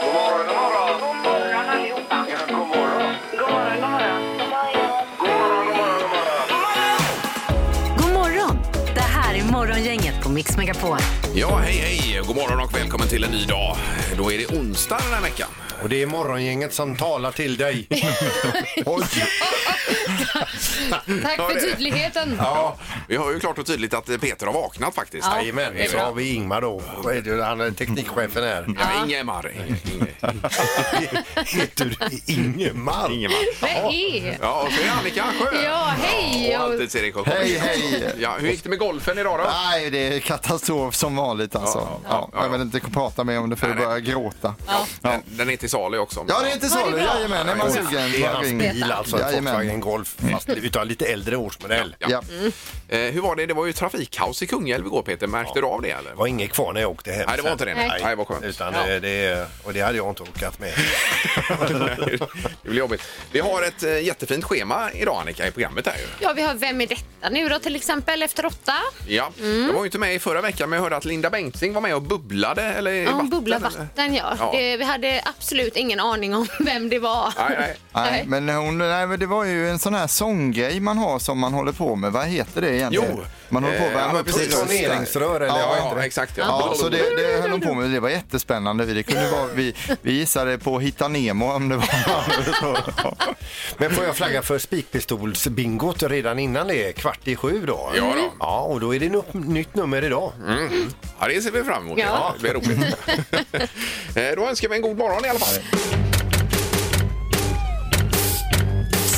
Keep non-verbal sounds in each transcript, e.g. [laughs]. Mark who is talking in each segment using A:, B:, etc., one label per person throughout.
A: God morgon, god morgon. God morgon allihopa. Ja, god morgon. God morgon, god morgon. God morgon, god morgon, god morgon.
B: God morgon! Det här är Morgongänget på Mix Megapol.
C: Ja, hej, hej! God morgon och välkommen till en ny dag. Då är det onsdag den här veckan.
D: Och det är morgongänget som talar till
C: [laughs]
D: dig. Oj!
E: Tack
C: Ja, det
E: för
C: är det.
E: tydligheten.
C: Ja, vi hör ju klart och tydligt att Peter har vaknat faktiskt.
E: Ja.
C: Det är
D: Jajamän, så
C: bra. Mm.
D: har vi Ingmar då. Vad är det? Han är teknikchefen här.
C: Ja, men Ingemar. Inge-
D: [laughs] Heter du Ingemar?
C: Ingemar.
E: Vad är?
C: Ja, och så är det Annika Sjö.
E: Ja, hej!
C: Och
E: Och-
C: alltid Erik och
F: Hej, hej.
C: Ja, hur gick det med golfen idag då?
F: Nej, det är katastrof som vanligt alltså. Ja,
C: ja, ja.
F: Jag vill inte prata mer om det för
C: Nej,
F: att börja gråta. Ja,
C: Den, den är till salu också.
F: det är inte
E: Ja,
F: så.
E: det är bra.
F: Jajamän, är man sugen.
D: Det är
F: bara
D: hans
F: ring.
D: bil alltså, en
F: Jajamän.
D: Volkswagen Golf. Fast utav lite äldre årsmodell.
C: Ja.
F: Ja.
C: Eh, hur var det? Det var ju trafikkaos i Kungälv igår Peter. Märkte du av det eller?
D: Det var inget kvar när jag åkte hem.
C: Nej, det var inte det. Nej,
E: Nej.
C: Nej vad skönt.
D: Utan det, det, och det hade jag inte orkat med.
C: Det blir jobbigt. Vi har ett eh, jättefint schema idag Annika i programmet här ju.
E: Ja, vi har Vem är detta nu då till exempel efter åtta?
C: Ja,
E: Mm.
C: jag var ju inte med i förra veckan men jag hörde att Linda Bengtzing var med och bubblade eller i
E: Ja, hon
C: vatten,
E: bubblar
C: eller?
E: vatten ja.
C: Ja.
E: Det, vi hade absolut ingen aning om [laughs] vem det var.
C: Nej, nej.
F: Nej, men, hon, nej, men det var ju en sån här sånggrej man har som man håller på med. Vad heter det egentligen?
C: Jo.
F: Man håller på
C: Eh,
F: att
C: ja,
F: värma
C: men
F: upp
C: precis.
F: sin röst där.
D: Toneringsrör eller vad heter
C: Ja,
D: det?
C: exakt. Ja.
F: Ja, så det, det höll hon på med. Det var jättespännande. Det kunde vara, vi, vi gissade på Hitta Nemo om det var
D: Men får jag flagga för spikpistolsbingot redan innan det? är Kvart i sju då?
C: Ja då.
D: Ja, och då är det nu- nytt nummer idag.
C: Ja, det ser vi fram emot.
E: Ja.
C: Det blir roligt. [laughs] Eh, Då önskar vi en god morgon i alla fall.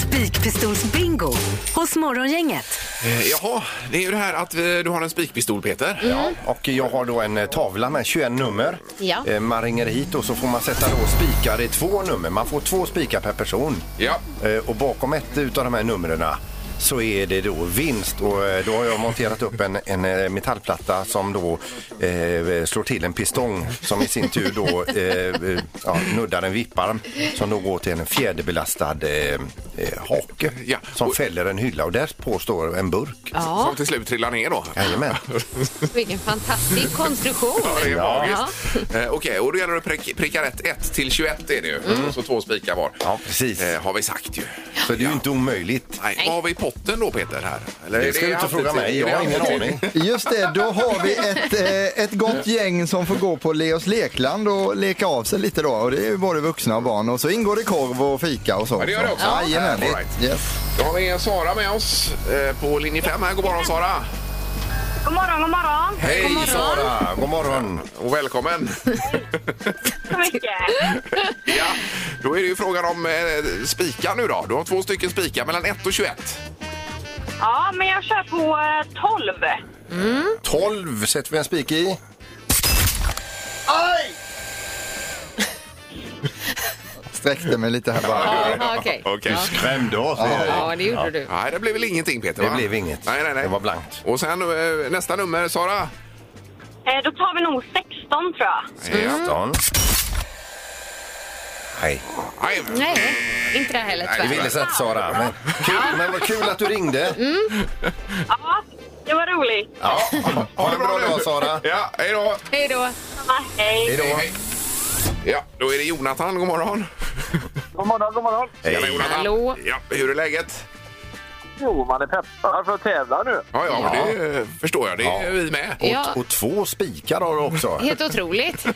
B: Spikpistolsbingo hos Morgongänget.
C: Eh, Jaha, det är ju det här att eh, du har en spikpistol Peter.
D: Ja, och jag har då en eh, tavla med 21 nummer.
E: Ja.
D: Eh, Man ringer hit och så får man sätta då spikar i två nummer. Man får två spikar per person.
C: Ja.
D: Eh, Och bakom ett utav de här numren så är det då vinst och eh, då har jag monterat upp en, en eh, metallplatta som då eh, slår till en pistong som i sin tur då eh, eh, ja, nuddar en vipparm som då går till en fjäderbelastad eh, eh, hake
C: Ja.
D: som
C: Och-
D: fäller en hylla och där på står en burk.
E: Ja,
C: Som till slut trillar ner då.
D: Jajamän.
E: vilken fantastisk konstruktion.
C: Det är
D: Ja.
C: magiskt. Eh, Okej, och då gäller det att prick- pricka rätt 1 till 21 är det ju. Och så två spikar var.
D: Ja, precis.
C: Eh, har vi sagt ju.
D: Så det är ju inte omöjligt.
C: Nej. Vad har vi i potten då Peter här? Eller är
D: Det ska du inte
C: alltid
D: fråga
C: till-
D: mig,
C: är
D: jag
C: det
D: har ingen
C: alltid
D: aning.
C: till-
F: Just det, då har vi ett, eh, ett gott gäng som får gå på Leos lekland och leka av sig lite då. Och det är ju både vuxna och barn. Och så ingår det korv och fika och så.
C: Ja, det gör det också.
F: Ja, Jajamän.
C: All right.
F: Yes.
C: Då har vi Sara med oss eh, på linje 5 här. God morgon Sara!
G: God morgon, god morgon.
C: Hej
E: God morgon.
D: Sara, god morgon.
C: och välkommen!
G: Så
F: [laughs]
G: mycket.
C: ja, då är det ju frågan om eh, spikar nu då. Du har två stycken spikar mellan 1 och 21.
G: Ja, men jag kör på eh, 12.
D: 12 sätter vi en spik i.
F: Sträckte mig lite här bara.
E: Ja, okej.
C: Okej.
D: Skrämde oss.
E: Ja, det gjorde du.
C: Nej, det blev väl ingenting Peter?
D: Det
C: va?
D: blev inget.
C: Nej, nej, nej.
D: Det var blankt.
C: Och sen eh, nästa nummer, Sara.
G: Eh, då tar vi nog 16, tror jag.
E: Mm.
C: Ja.
D: 18. Nej,
C: Nej.
E: Nej, inte det heller
C: Nej, det
D: det
E: tyvärr.
D: ville sett Sara. Men, kul, men vad kul att du ringde.
G: Ja, det var roligt.
D: Ja. Ha en bra dag Sara.
C: Ja, hej då!
E: Hej då.
G: Ja, hej.
C: Hej, hej. Ja, då är det Jonathan. God morgon!
H: God morgon, god morgon.
C: Tjena, Jonathan.
E: Hallå.
C: Ja, hur är läget?
H: Jo, man är peppad för att tävla nu.
C: Ja, ja, det eh, förstår jag. Det är vi med.
E: Ja,
D: Och två spikar har du också.
E: helt otroligt.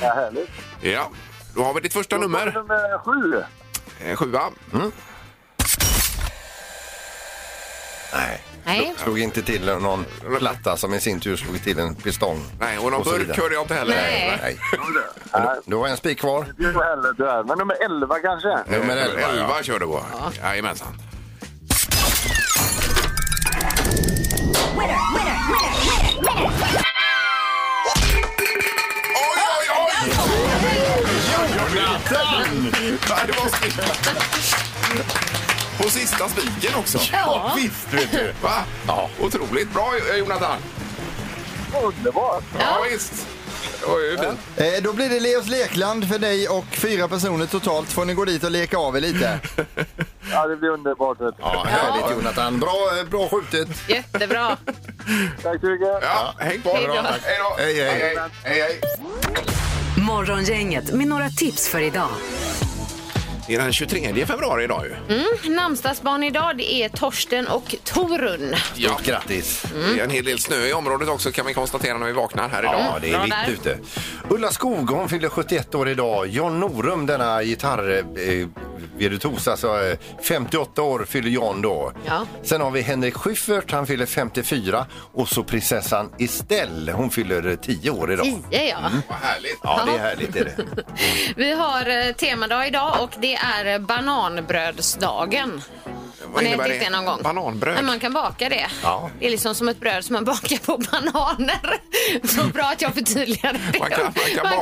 H: Ja, härligt.
C: Ja, då har vi ditt första nummer.
H: Nummer sju.
C: Eh, Sjua.
D: Mm. Nej,
E: Nej.
D: slog inte till någon platta som i sin tur slog till en pistong.
C: Nej, och någon
D: så
C: burk
D: vidare.
C: hörde jag inte heller.
E: Nej.
D: Nej.
H: Nej,
D: Du har en spik kvar.
H: det är ju heller tyvärr. Men nummer elva kanske.
D: Nummer
C: Nummer
D: 11.
C: 11,
D: ja.
C: kör du på. Jajamensan. Oj, oj, oj! Jonathan! Nej, det var spiken. På sista spiken också.
E: Ja.
D: Visst vet du.
C: Va? Ja. Otroligt bra eh, Jonathan.
H: Underbart!
C: Ja, visst. Det var ju fint.
F: Eh, då blir det Leos lekland för dig och fyra personer totalt. Får ni gå dit och leka av er lite.
H: Ja, det blir underbart. vet du.
D: Ja, härligt Jonathan. Bra, eh, bra skjutet.
E: Jättebra.
H: Tack så mycket.
C: Ja, häng på.
E: Hej då.
C: Hej då.
D: Hej, hej.
C: hej, hej.
B: Morgongänget med några tips för idag.
C: Det är den 23 februari idag ju.
E: Mm. Namnsdagsbarn idag det är Torsten och Torun.
C: Ja,
D: Grattis!
C: Det är en hel del snö i området också kan vi konstatera när vi vaknar här idag.
D: Ja, det är
E: Mm. Bra
D: vitt
E: där.
D: ute. Ulla Skog, hon fyller 71 år idag. John Norum, denna gitarrvirtuos, alltså eh, 58 år fyller John då.
E: Ja.
D: Sen har vi Henrik Schyffert, han fyller 54 och så prinsessan Estelle, hon fyller eh, 10 år idag.
E: Tio, ja.
C: Vad härligt.
D: Ja, det är härligt är det.
E: Vi har eh, temadag idag och det är eh, bananbrödsdagen. Har ni ätit det någon gång?
C: Bananbröd.
E: Nej, man kan baka det.
D: Ja.
E: Det är liksom som ett bröd som man [laughs] bakar på bananer. Så bra att jag förtydligade det.
C: Man kan, man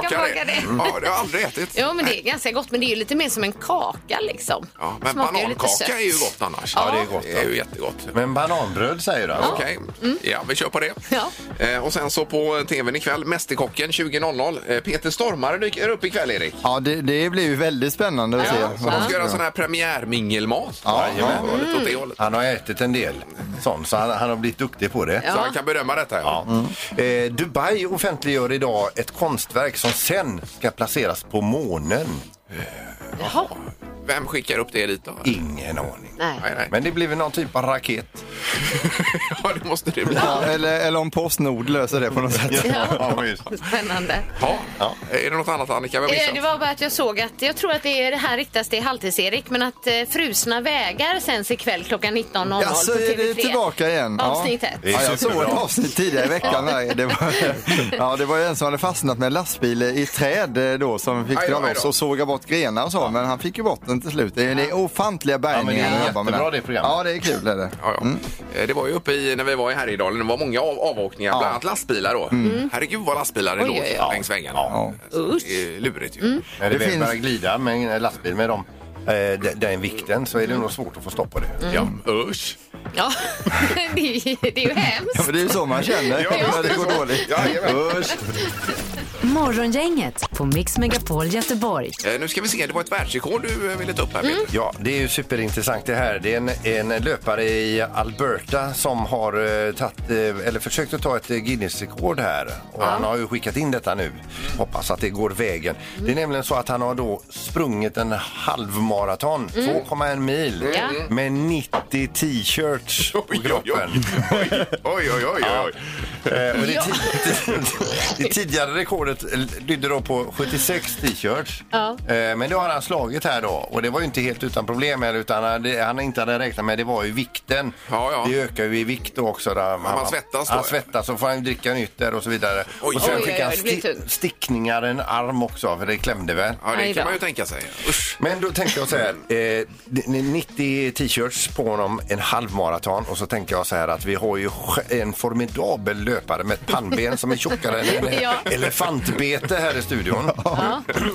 C: kan baka, det. Mm. Ja, det har jag aldrig ätit.
E: Jo, men det är ganska gott, men det är ju lite mer som en kaka liksom.
C: Ja, men
E: Smakar ju lite sött.
C: banankaka är ju gott annars.
E: Ja, Mm. det är
D: gott,
C: Det är ju jättegott.
D: Men bananbröd säger du alltså?
C: Okej, ja, vi kör på det.
E: Ja.
C: Eh, och sen så på tvn ikväll, Mästerkocken 20.00. Eh, Peter Stormare dyker upp ikväll, Erik.
F: Ja, det, det blir ju väldigt spännande att se.
C: Så de ska göra sån här premiärmingelmat.
F: Ja,
C: Jajamän, det var lite åt det hållet.
D: Han har ätit en del sånt, så han, han har blivit duktig på det.
C: Så han kan bedöma detta. Ja.
D: Eh, Dubai offentliggör idag ett konstverk som sen ska placeras på månen.
E: Jaha.
C: Vem skickar upp det dit då?
D: Ingen aning.
E: Nej.
C: Nej, nej.
D: Men det blir väl någon typ av raket.
C: ja, det måste det bli.
F: Ja, eller, eller om Postnord löser det på något sätt.
D: Ja, visst.
E: Spännande.
C: Ja. Är det något annat, Annika? Vi har
E: Eh,
C: missat?
E: Det var bara att jag såg att, jag tror att det, är det här riktas till Halvtids-Erik, men att eh, Frusna vägar sänds ikväll klockan 19.00
F: Jaså,
E: på
F: är
E: TV3.
F: det tillbaka igen?
E: Avsnitt ett.
D: Det är
F: Ja, jag såg
D: superbra.
F: ett avsnitt tidigare i veckan. Där. Det, var, ja, det var [laughs] ju en som hade fastnat med en lastbil i träd eh, då som fick
C: Aj då,
F: dra
C: aj
F: loss
C: då.
F: och såga bort grenar och så, men han fick ju bort den till slut. Det är, det är ofantliga bärgningar
D: Ja, men det
F: att
D: är
F: jobba med
D: jättebra
F: den.
D: det programmet.
F: Ja, det är kul. Är det.
C: Ja, ja.
D: Mm.
C: Eh, Det var ju uppe i, när vi var i Härjedalen, det var många av, avåkningar, bland annat lastbilar då.
D: Mm.
C: Mm. Herregud vad lastbilar det
E: Oj,
C: låg
E: oj, Mm. oj.
C: längs vägarna. Ja. Det är lurigt ju.
D: När det,
F: Det
D: väl
F: finns-
D: börjar glida med en lastbil med dem, eh, de- den vikten så är det nog svårt att få stopp på det.
C: Ja, usch.
E: Ja, [laughs] det, är- det är ju hemskt.
F: Ja, men det är ju så man känner [laughs] när det går dåligt. Usch.
B: Morgongänget på Mix Megapol Göteborg.
C: Eh, Nu ska vi se, det var ett världsrekord du eh, ville ta upp här
E: Mm.
C: Peter.
D: Ja, det är ju superintressant det här. Det är en, en löpare i Alberta som har eh, tagit, eh, eller försökt att ta ett eh, Guinness-rekord här. Och han har ju skickat in detta nu. Hoppas att det går vägen. Det är nämligen så att han har då sprungit en halvmaraton, 2,1 mil,
E: Ja.
D: med 90 t-shirts på
C: Oj, oj, oj.
D: kroppen.
C: Oj, oj, oj, oj.
D: Eh, och det, tid- [laughs] det tidigare rekordet lydde då på 76 t-shirts.
E: Ja.
D: Eh, Men det har han slagit här då. Och det var ju inte helt utan problem. Eller, utan han- det han inte hade räknat med det var ju vikten.
C: Ja, ja.
D: Det ökar ju i vikt då också. Där han,
C: man svettas då,
D: Han
C: ja.
D: svettas så får han dricka nytt där och så vidare.
C: Oj.
D: och sen
E: Oj,
D: fick
E: oj,
D: han
E: oj, det blir
D: sti-
E: tungt.
D: stickningar i en arm också för det klämde väl.
C: Ja, det
E: Aj
C: kan
E: då.
C: man ju tänka sig. Usch.
D: Men då tänkte jag så här, eh, det- 90 t-shirts på honom, en halvmaraton och så tänker jag så här att vi har ju sj- en formidabel löpare med ett pannben som är tjockare än
E: [laughs]
D: en
E: Ja.
D: elefantbete här i studion.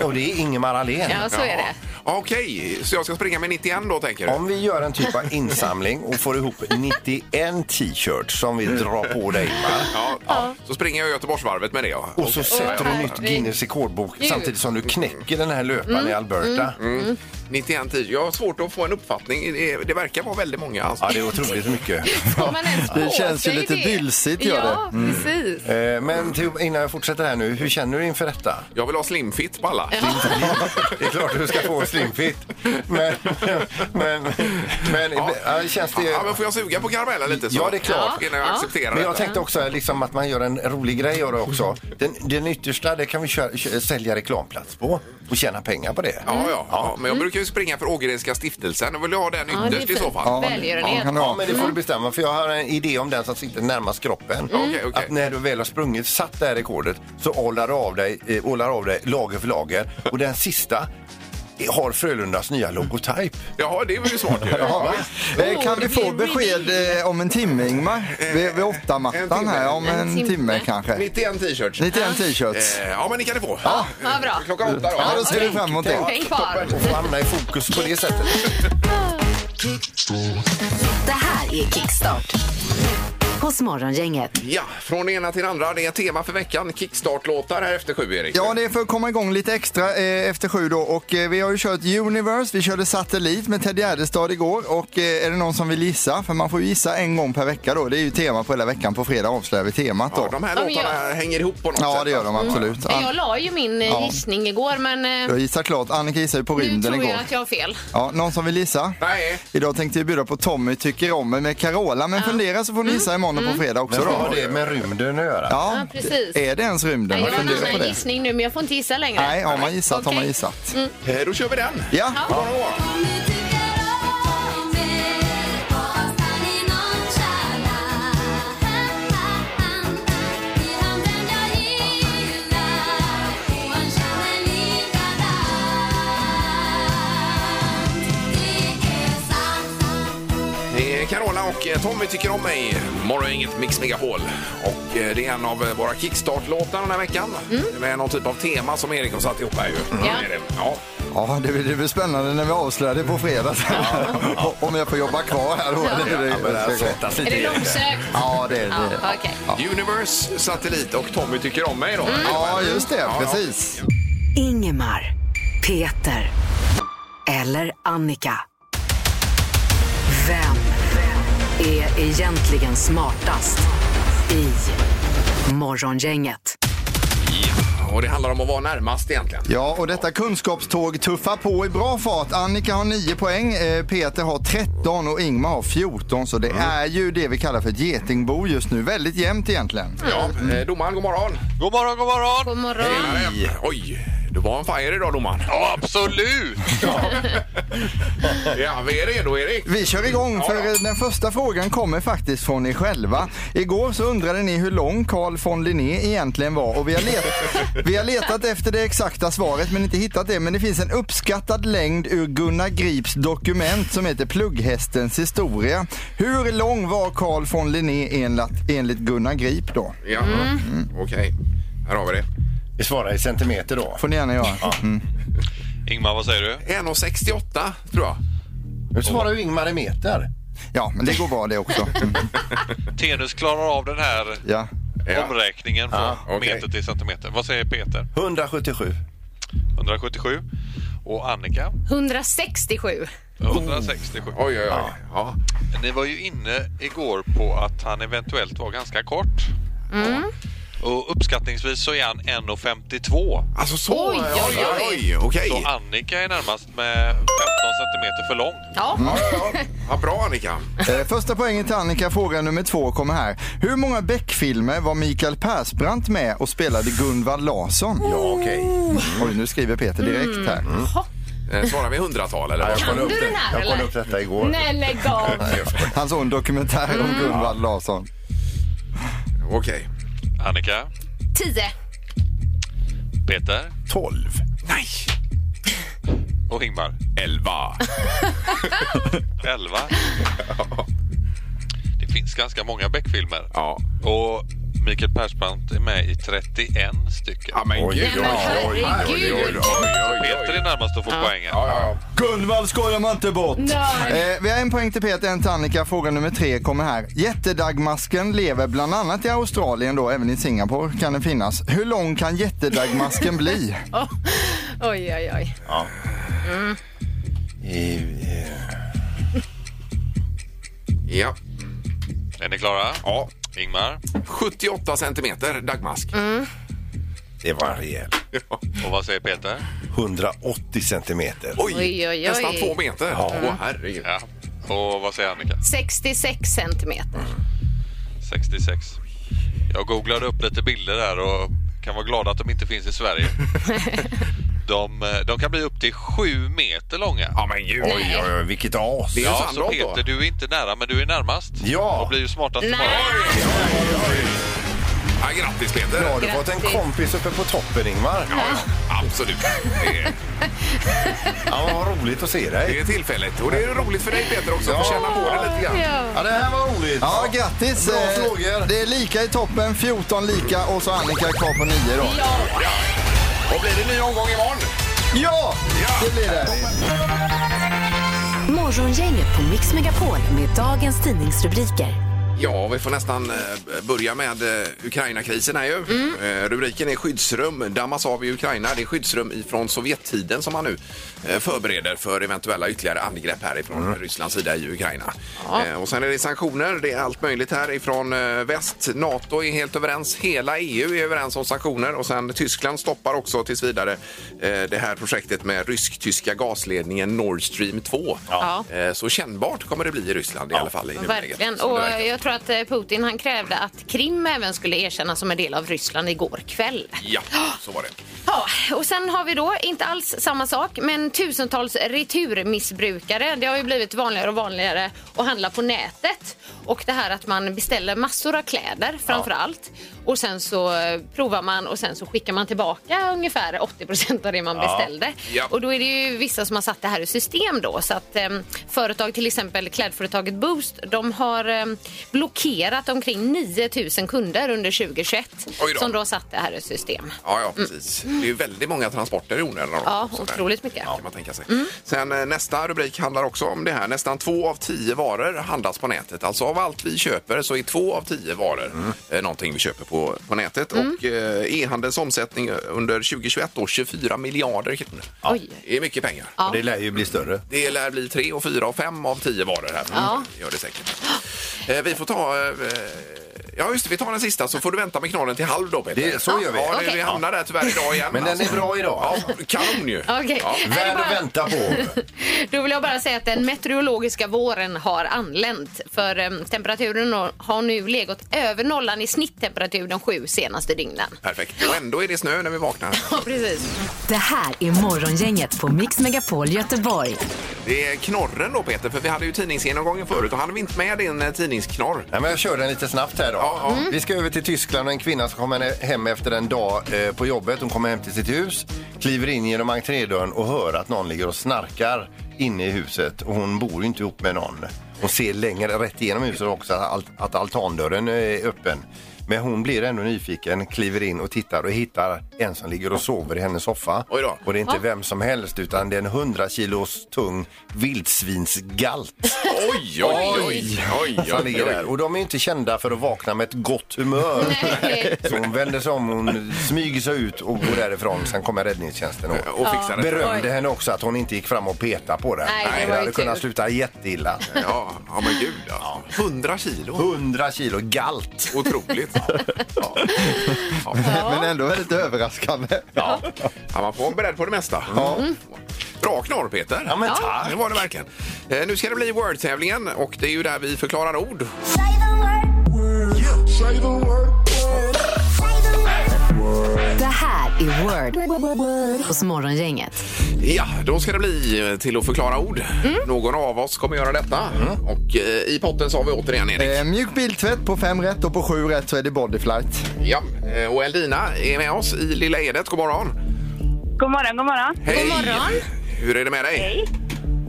D: Och det är Ingemar Ahlén.
E: Ja, så är det.
C: Okej, så jag ska springa med 91 då tänker du?
D: Om vi gör en typ av insamling och får ihop 91 t-shirts som vi drar på dig Ingmar.
C: Ja, Så springer jag Göteborgsvarvet med det ja.
D: Och så sätter du nytt
E: herregud. Mm.
D: Guinness rekordbok samtidigt som du knäcker den här löparen i Alberta.
C: 91 tid. Jag har svårt att få en uppfattning. Det, det verkar vara väldigt många. Alltså.
D: Ja, det är otroligt mycket.
E: Får man ens
F: Det
E: på
F: känns ju
E: sig
F: lite
E: det?
F: bylsigt, gör Mm.
E: Ja, precis.
D: Eh, Men till, innan jag fortsätter här nu, hur känner du inför detta?
C: Jag vill ha slimfit på alla.
D: Det är klart du ska få slimfit. Men, men, men
C: Ja.
D: ja. känns det...
C: Ja, men får jag suga på karamellen lite? Så?
D: Ja, det är klart.
C: Innan jag
E: Ja.
C: accepterar
D: Men jag
C: detta.
D: tänkte också liksom att man gör en rolig grej av det också. Den, den yttersta, det kan vi köra, kö- sälja reklamplats på och tjäna pengar på det.
C: Ja, ja, ja. Men jag brukar ju springa för Ågrenska stiftelsen. Jag vill ju ha den
E: Ja, det är
C: ytterst i så
E: fint.
C: fall.
F: Ja,
E: Välgörenhet.
F: ja, kan det
D: Ja,
F: vara.
D: men det får du bestämma för jag har en idé om den som sitter närmast kroppen.
C: Mm. Okej, okej.
D: Att när du väl har sprungit, satt det här rekordet, så ålar du av dig, eh, ålar av dig lager för lager. Och den sista har Frölundas nya logotyp.
C: Jaha, det var ju smart ju. Ja, visst.
F: Eh, Kan vi få
E: Åh, det är
F: besked eh, om en timme, Ingmar? Vid, vid
C: en
F: åttamattan
C: timme.
F: här, om
E: En
F: en
E: timme.
F: timme kanske.
C: 91 t-shirts.
F: 91 t-shirts.
C: Eh, Ja, men ni kan det få. Ja,
E: Ja, bra.
C: Klockan åtta då.
F: Ja, då ska vi fram emot det.
E: Tänk kvar.
D: Och få hamna i fokus på det sättet.
B: Det här är Kickstart. hos Morgongänget.
C: Ja, från det ena till det andra. Det är tema för veckan. Kickstart-låtar här efter sju, Erik.
F: Ja, det är för att komma igång lite extra eh, efter sju då. Och eh, vi har ju kört Universe, vi körde Satellit med Ted Gärdestad igår. Och eh, är det någon som vill gissa? För man får ju gissa en gång per vecka då. Det är ju tema på hela veckan. På fredag avslöjar vi temat då.
C: Ja, de här
E: De
C: låtarna
E: gör-
C: hänger ihop på något
F: Ja,
C: sätt.
F: det gör de absolut.
E: Men
F: An-
E: Jag la ju min eh,
F: Ja.
E: gissning igår, men eh,
F: jag gissar klart. Annika gissade ju på
E: nu
F: rymden
E: tror
F: igår.
E: jag att jag har fel.
F: Ja, någon som vill gissa?
C: Nej.
F: Idag tänkte jag bjuda på Tommy tycker om mig med Carola. Men fundera så får ni gissa imorgon och på fredag också
D: Men vad
F: då.
D: har det med rymden att göra?
F: Ja,
E: Mm. Ja, precis.
F: är det ens rymden?
E: Nej, jag har en
F: Fundera på
E: annan
F: det.
E: gissning nu, men jag får inte gissa längre.
F: Nej, har man gissat har man
E: Okej. Mm.
F: gissat.
C: Eh, Då kör vi den.
F: Ja,
C: God morgon, god morgon. Det är Carola och eh, Tommy tycker om mig. Morgongänget Mix Megapol. Och eh, det är en av eh, våra kickstart-låtar den här veckan. Med någon typ av tema som Erik har satt ihop här ju.
E: Mm. Ja.
C: Det är det. ja.
F: ja det, blir, det blir spännande när vi avslöjar det på fredag. [laughs] Om jag får jobba kvar här då. Eller hur det,
D: Men det här
F: det ska gå.
D: svettas
E: Är
D: lite.
E: det långsökt?
F: Ja, det är
E: Ja,
F: det.
E: okej.
C: Universe, Satellit och Tommy tycker om mig då.
E: Mm.
F: Ja, just det. Precis.
B: Ingemar, Peter eller Annika. Vem är egentligen smartast i Morgongänget?
C: Och det handlar om att vara närmast egentligen.
F: Ja, och detta kunskapståg tuffar på i bra fart. Annika har 9 poäng, eh, Peter har 13 och Ingmar har 14. Så det är ju det vi kallar för ett getingbo just nu. Väldigt jämnt egentligen.
C: Ja, eh, domaren, god morgon.
I: God morgon, god morgon!
E: God morgon.
C: Tjenare. Oj, du var en fire idag domaren.
I: Ja,
C: [laughs]
I: absolut!
C: Ja, vi är redo Erik.
F: Vi kör igång för
C: Ja.
F: den första frågan kommer faktiskt från er själva. Igår så undrade ni hur lång Carl von Linné egentligen var och vi har, let-
C: [laughs]
F: vi har letat efter det exakta svaret men inte hittat det. Men det finns en uppskattad längd ur Gunnar Grips dokument som heter Plugghästens historia. Hur lång var Carl von Linné enligt, enligt Gunnar Grip då?
C: Ja.
E: Mm.
C: Okej, här har vi det.
D: Vi svarar i centimeter då.
F: Får ni gärna göra. Mm.
I: Ingmar, vad säger du?
C: 1,68 tror jag.
D: Nu svarar ju Ingmar i meter.
F: Ja, men det går bra det
C: [laughs]
F: också. Mm.
I: Tenus klarar av den här
F: Ja.
C: Ja.
I: omräkningen från
C: Ah, okej.
I: meter till centimeter. Vad säger Peter?
D: 177.
I: 177. Och Annika?
E: 167.
I: 167.
C: Oj, oj, oj. Ja.
I: Ni var ju inne igår på att han eventuellt var ganska kort.
C: Mm.
I: Och uppskattningsvis så är han 1,52.
C: Alltså så?
E: Oj, oj, oj.
C: Okej.
I: Så Annika är närmast med 15 centimeter för lång.
E: Ja,
C: Ja, ja, ja. ja, bra Annika.
F: Eh, Första poängen till Annika, fråga nummer två kommer här. Hur många Beck-filmer var Mikael Persbrandt med och spelade Gunvald Larsson?
D: Ja, okej.
E: Oh.
F: Oj, nu skriver Peter direkt här.
C: Eh, Svarar vi hundratal eller?
D: Ja,
C: vad?
D: jag kollade upp
E: du
D: det-
E: den här,
D: Jag kollade
E: eller?
D: upp detta igår.
E: Nej, lägg av.
F: Han såg en dokumentär om Gunvald Larsson.
C: Okej.
I: Annika?
E: 10.
I: Peter?
D: 12.
C: Nej!
I: Och Ingmar?
C: Elva.
I: 11.
C: [laughs]
I: Det finns ganska många Beck-filmer.
C: Ja.
I: Och Mikael Persbrandt är med i 31 stycken.
C: Ja, men
D: Oj,
C: gud.
D: men
E: herregud.
I: Peter är närmast att få poängen.
C: Ja, ja, ja.
F: Gunvald skojar man inte bort!
E: Nej.
F: Eh, vi har en poäng till Peter, en till Annika. Fråga nummer tre kommer här. Jättedagmasken lever bland annat i Australien då, även i Singapore kan den finnas. Hur lång kan jättedagmasken [laughs] bli?
E: Oj, oj, oj.
D: I, eh,
C: ja.
I: Är ni klara?
C: ja.
I: Ingmar?
C: 78 centimeter dagmask.
E: Mm.
C: [laughs]
D: det var en rejäl.
I: Och vad säger Peter?
D: 180 centimeter.
C: Oj,
E: Oj, oj, oj.
C: nästan två meter.
D: Ja.
C: Åh, herregud.
I: Ja. Och vad säger Annika?
E: 66 centimeter.
I: 66. Jag googlade upp lite bilder där och kan vara glad att de inte finns i
E: [laughs]
I: Sverige. De, eh, de kan bli upp till sju meter långa.
C: Ja, men gud.
D: Oj, oj, oj, vilket as.
C: Det är ju
I: Ja, så
C: Sandholt då.
I: Peter, du är inte nära men du är närmast.
D: Ja.
I: Och blir ju smartast
E: Nej.
I: imorgon.
C: Ja, grattis Peter.
D: Där har du fått en
E: Grattis.
D: kompis uppe på toppen, Ingmar.
C: Ja, ja, absolut. Det är,
D: Ja, vad roligt att se
C: det
D: dig.
C: är tillfället. Och det är roligt för dig Peter också, att få känna på det lite grann.
D: Ja, det här var roligt.
F: Ja, grattis!
D: Bra
F: Eh,
D: frågor.
F: Det är lika i toppen, 14 lika och så Annika kvar på 9 då.
C: Och blir det ny omgång imorgon?
F: Ja!
C: Ja.
F: Det blir det.
B: Morgongänget på Mix Megapol med dagens tidningsrubriker.
C: Ja, vi får nästan eh, börja med eh, Ukraina-krisen här ju. Eh, Rubriken är skyddsrum dammas av i Ukraina. Det är skyddsrum ifrån Sovjettiden som man nu eh, förbereder för eventuella ytterligare angrepp härifrån Rysslands sida i Ukraina. Eh, Och sen är det sanktioner. Det är allt möjligt här ifrån eh, väst. NATO är helt överens. Hela EU är överens om sanktioner och sen Tyskland stoppar också tills vidare eh, det här projektet med rysk-tyska gasledningen Nord Stream 2.
E: Ja.
C: Eh, Så kännbart kommer det bli i Ryssland i alla fall. I nuläget,
E: Verkligen.
C: som det
E: Och
C: verkar.
E: jag tror att eh, Putin han krävde att Krim även skulle erkännas som en del av Ryssland igår kväll.
C: Ja, så var det.
E: Ja, och sen har vi då, inte alls samma sak, men tusentals returmissbrukare. Det har ju blivit vanligare och vanligare att handla på nätet. Och det här att man beställer massor av kläder framför allt. Och sen så eh, provar man och sen så skickar man tillbaka ungefär 80 procent av det man beställde.
C: Ja.
E: Och då är det ju vissa som har satt det här i system då. Så att eh, företag, till exempel klädföretaget Boost, de har eh, blockerat omkring 9000 kunder under 2021.
C: Oj då.
E: Som då har satt det här i system.
C: Ja, ja precis. Det är ju väldigt många transporter i onödan.
E: Ja,
C: också där.
E: otroligt Mm. mycket.
C: Ja, kan man tänka sig. Sen eh, nästa rubrik handlar också om det här. Nästan två av tio varor handlas på nätet. Alltså av allt vi köper så är två av tio varor mm. någonting vi köper på, på nätet.
E: Mm.
C: Och eh, e-handelns omsättning under 2021 då 24 miljarder kronor.
E: Oj.
C: Det är mycket pengar.
E: Ja.
D: Och det lär ju bli större.
C: Det lär bli tre och fyra och fem av tio varor här.
E: Ja.
C: Gör det säkert. Eh, vi får ta... Eh, ja, just det. Vi tar den sista så får du vänta med knallen till halv då, Peter.
D: Det- så gör vi.
C: Ja, det,
E: Okej.
C: vi hamnar där tyvärr idag igen. alltså.
D: Men den är bra idag.
C: Ja, kanon ju.
E: Okej.
C: Ja.
E: Är det
D: Värd
E: bara-
D: att vänta på.
E: [laughs] Då vill jag bara säga att den meteorologiska våren har anlänt. För em, temperaturen har nu legat över nollan i snitttemperatur de sju senaste
C: [laughs]
E: dygnen.
C: Perfekt. Och ändå är det snö när vi vaknar.
E: Ja, precis.
B: Det här är Morgongänget på Mix Megapol Göteborg.
C: Det är knorren då, Peter, för vi hade ju tidningsgenomgången förut och hade vi inte med din eh, tidningsknorr.
D: Nej, men jag kör den lite snabbt här då.
C: Ja, ja.
D: Vi ska över till Tyskland och en kvinna som kommer hem efter en dag eh, på jobbet. Hon kommer hem till sitt hus, kliver in genom entrédörren och hör att någon ligger och snarkar inne i huset. Och hon bor ju inte ihop med någon. Hon ser längre rätt igenom huset också att, alt- att altandörren eh, är öppen. Men hon blir ändå nyfiken, kliver in och tittar och hittar en som ligger och sover i hennes soffa.
C: Oj då.
D: Och det är inte vem som helst utan det är en 100 kilos tung vildsvinsgalt.
C: Oj, oj, oj! oj, oj,
D: Han ligger där. Och de är inte kända för att vakna med ett gott humör.
E: Nej.
D: Så hon vänder sig om, hon smyger sig ut och går därifrån. Sen kommer räddningstjänsten och,
C: Och fixar det.
D: berömde henne också att hon inte gick fram och petade på det.
E: Nej, det var ju
D: det hade
E: tur.
D: kunnat sluta jätteilla.
C: Ja, ja, men gud. Ja. 100 kilo.
D: 100 kilo galt.
C: Otroligt. Ja.
F: Men ändå väldigt överraskande.
C: Ja, man får vara beredd på det mesta. Mm. Bra knorr, Peter.
D: Ja, men Ja. tack.
C: Det var det verkligen. Eh, nu ska det bli Word-tävlingen och det är ju där vi förklarar ord.
B: Det här är Word hos Morgongänget.
C: Ja, då ska det bli eh, till att förklara ord. Någon av oss kommer göra detta. Och eh, i potten så har vi återigen Erik.
F: Eh, mjuk biltvätt på fem rätt och på sju rätt så är det bodyflight.
C: Ja. eh, Och Eldina är med oss i Lilla Edet. God morgon.
G: God morgon, god morgon.
C: Hej!
E: morgon.
C: Hur är det med dig?
G: Hej.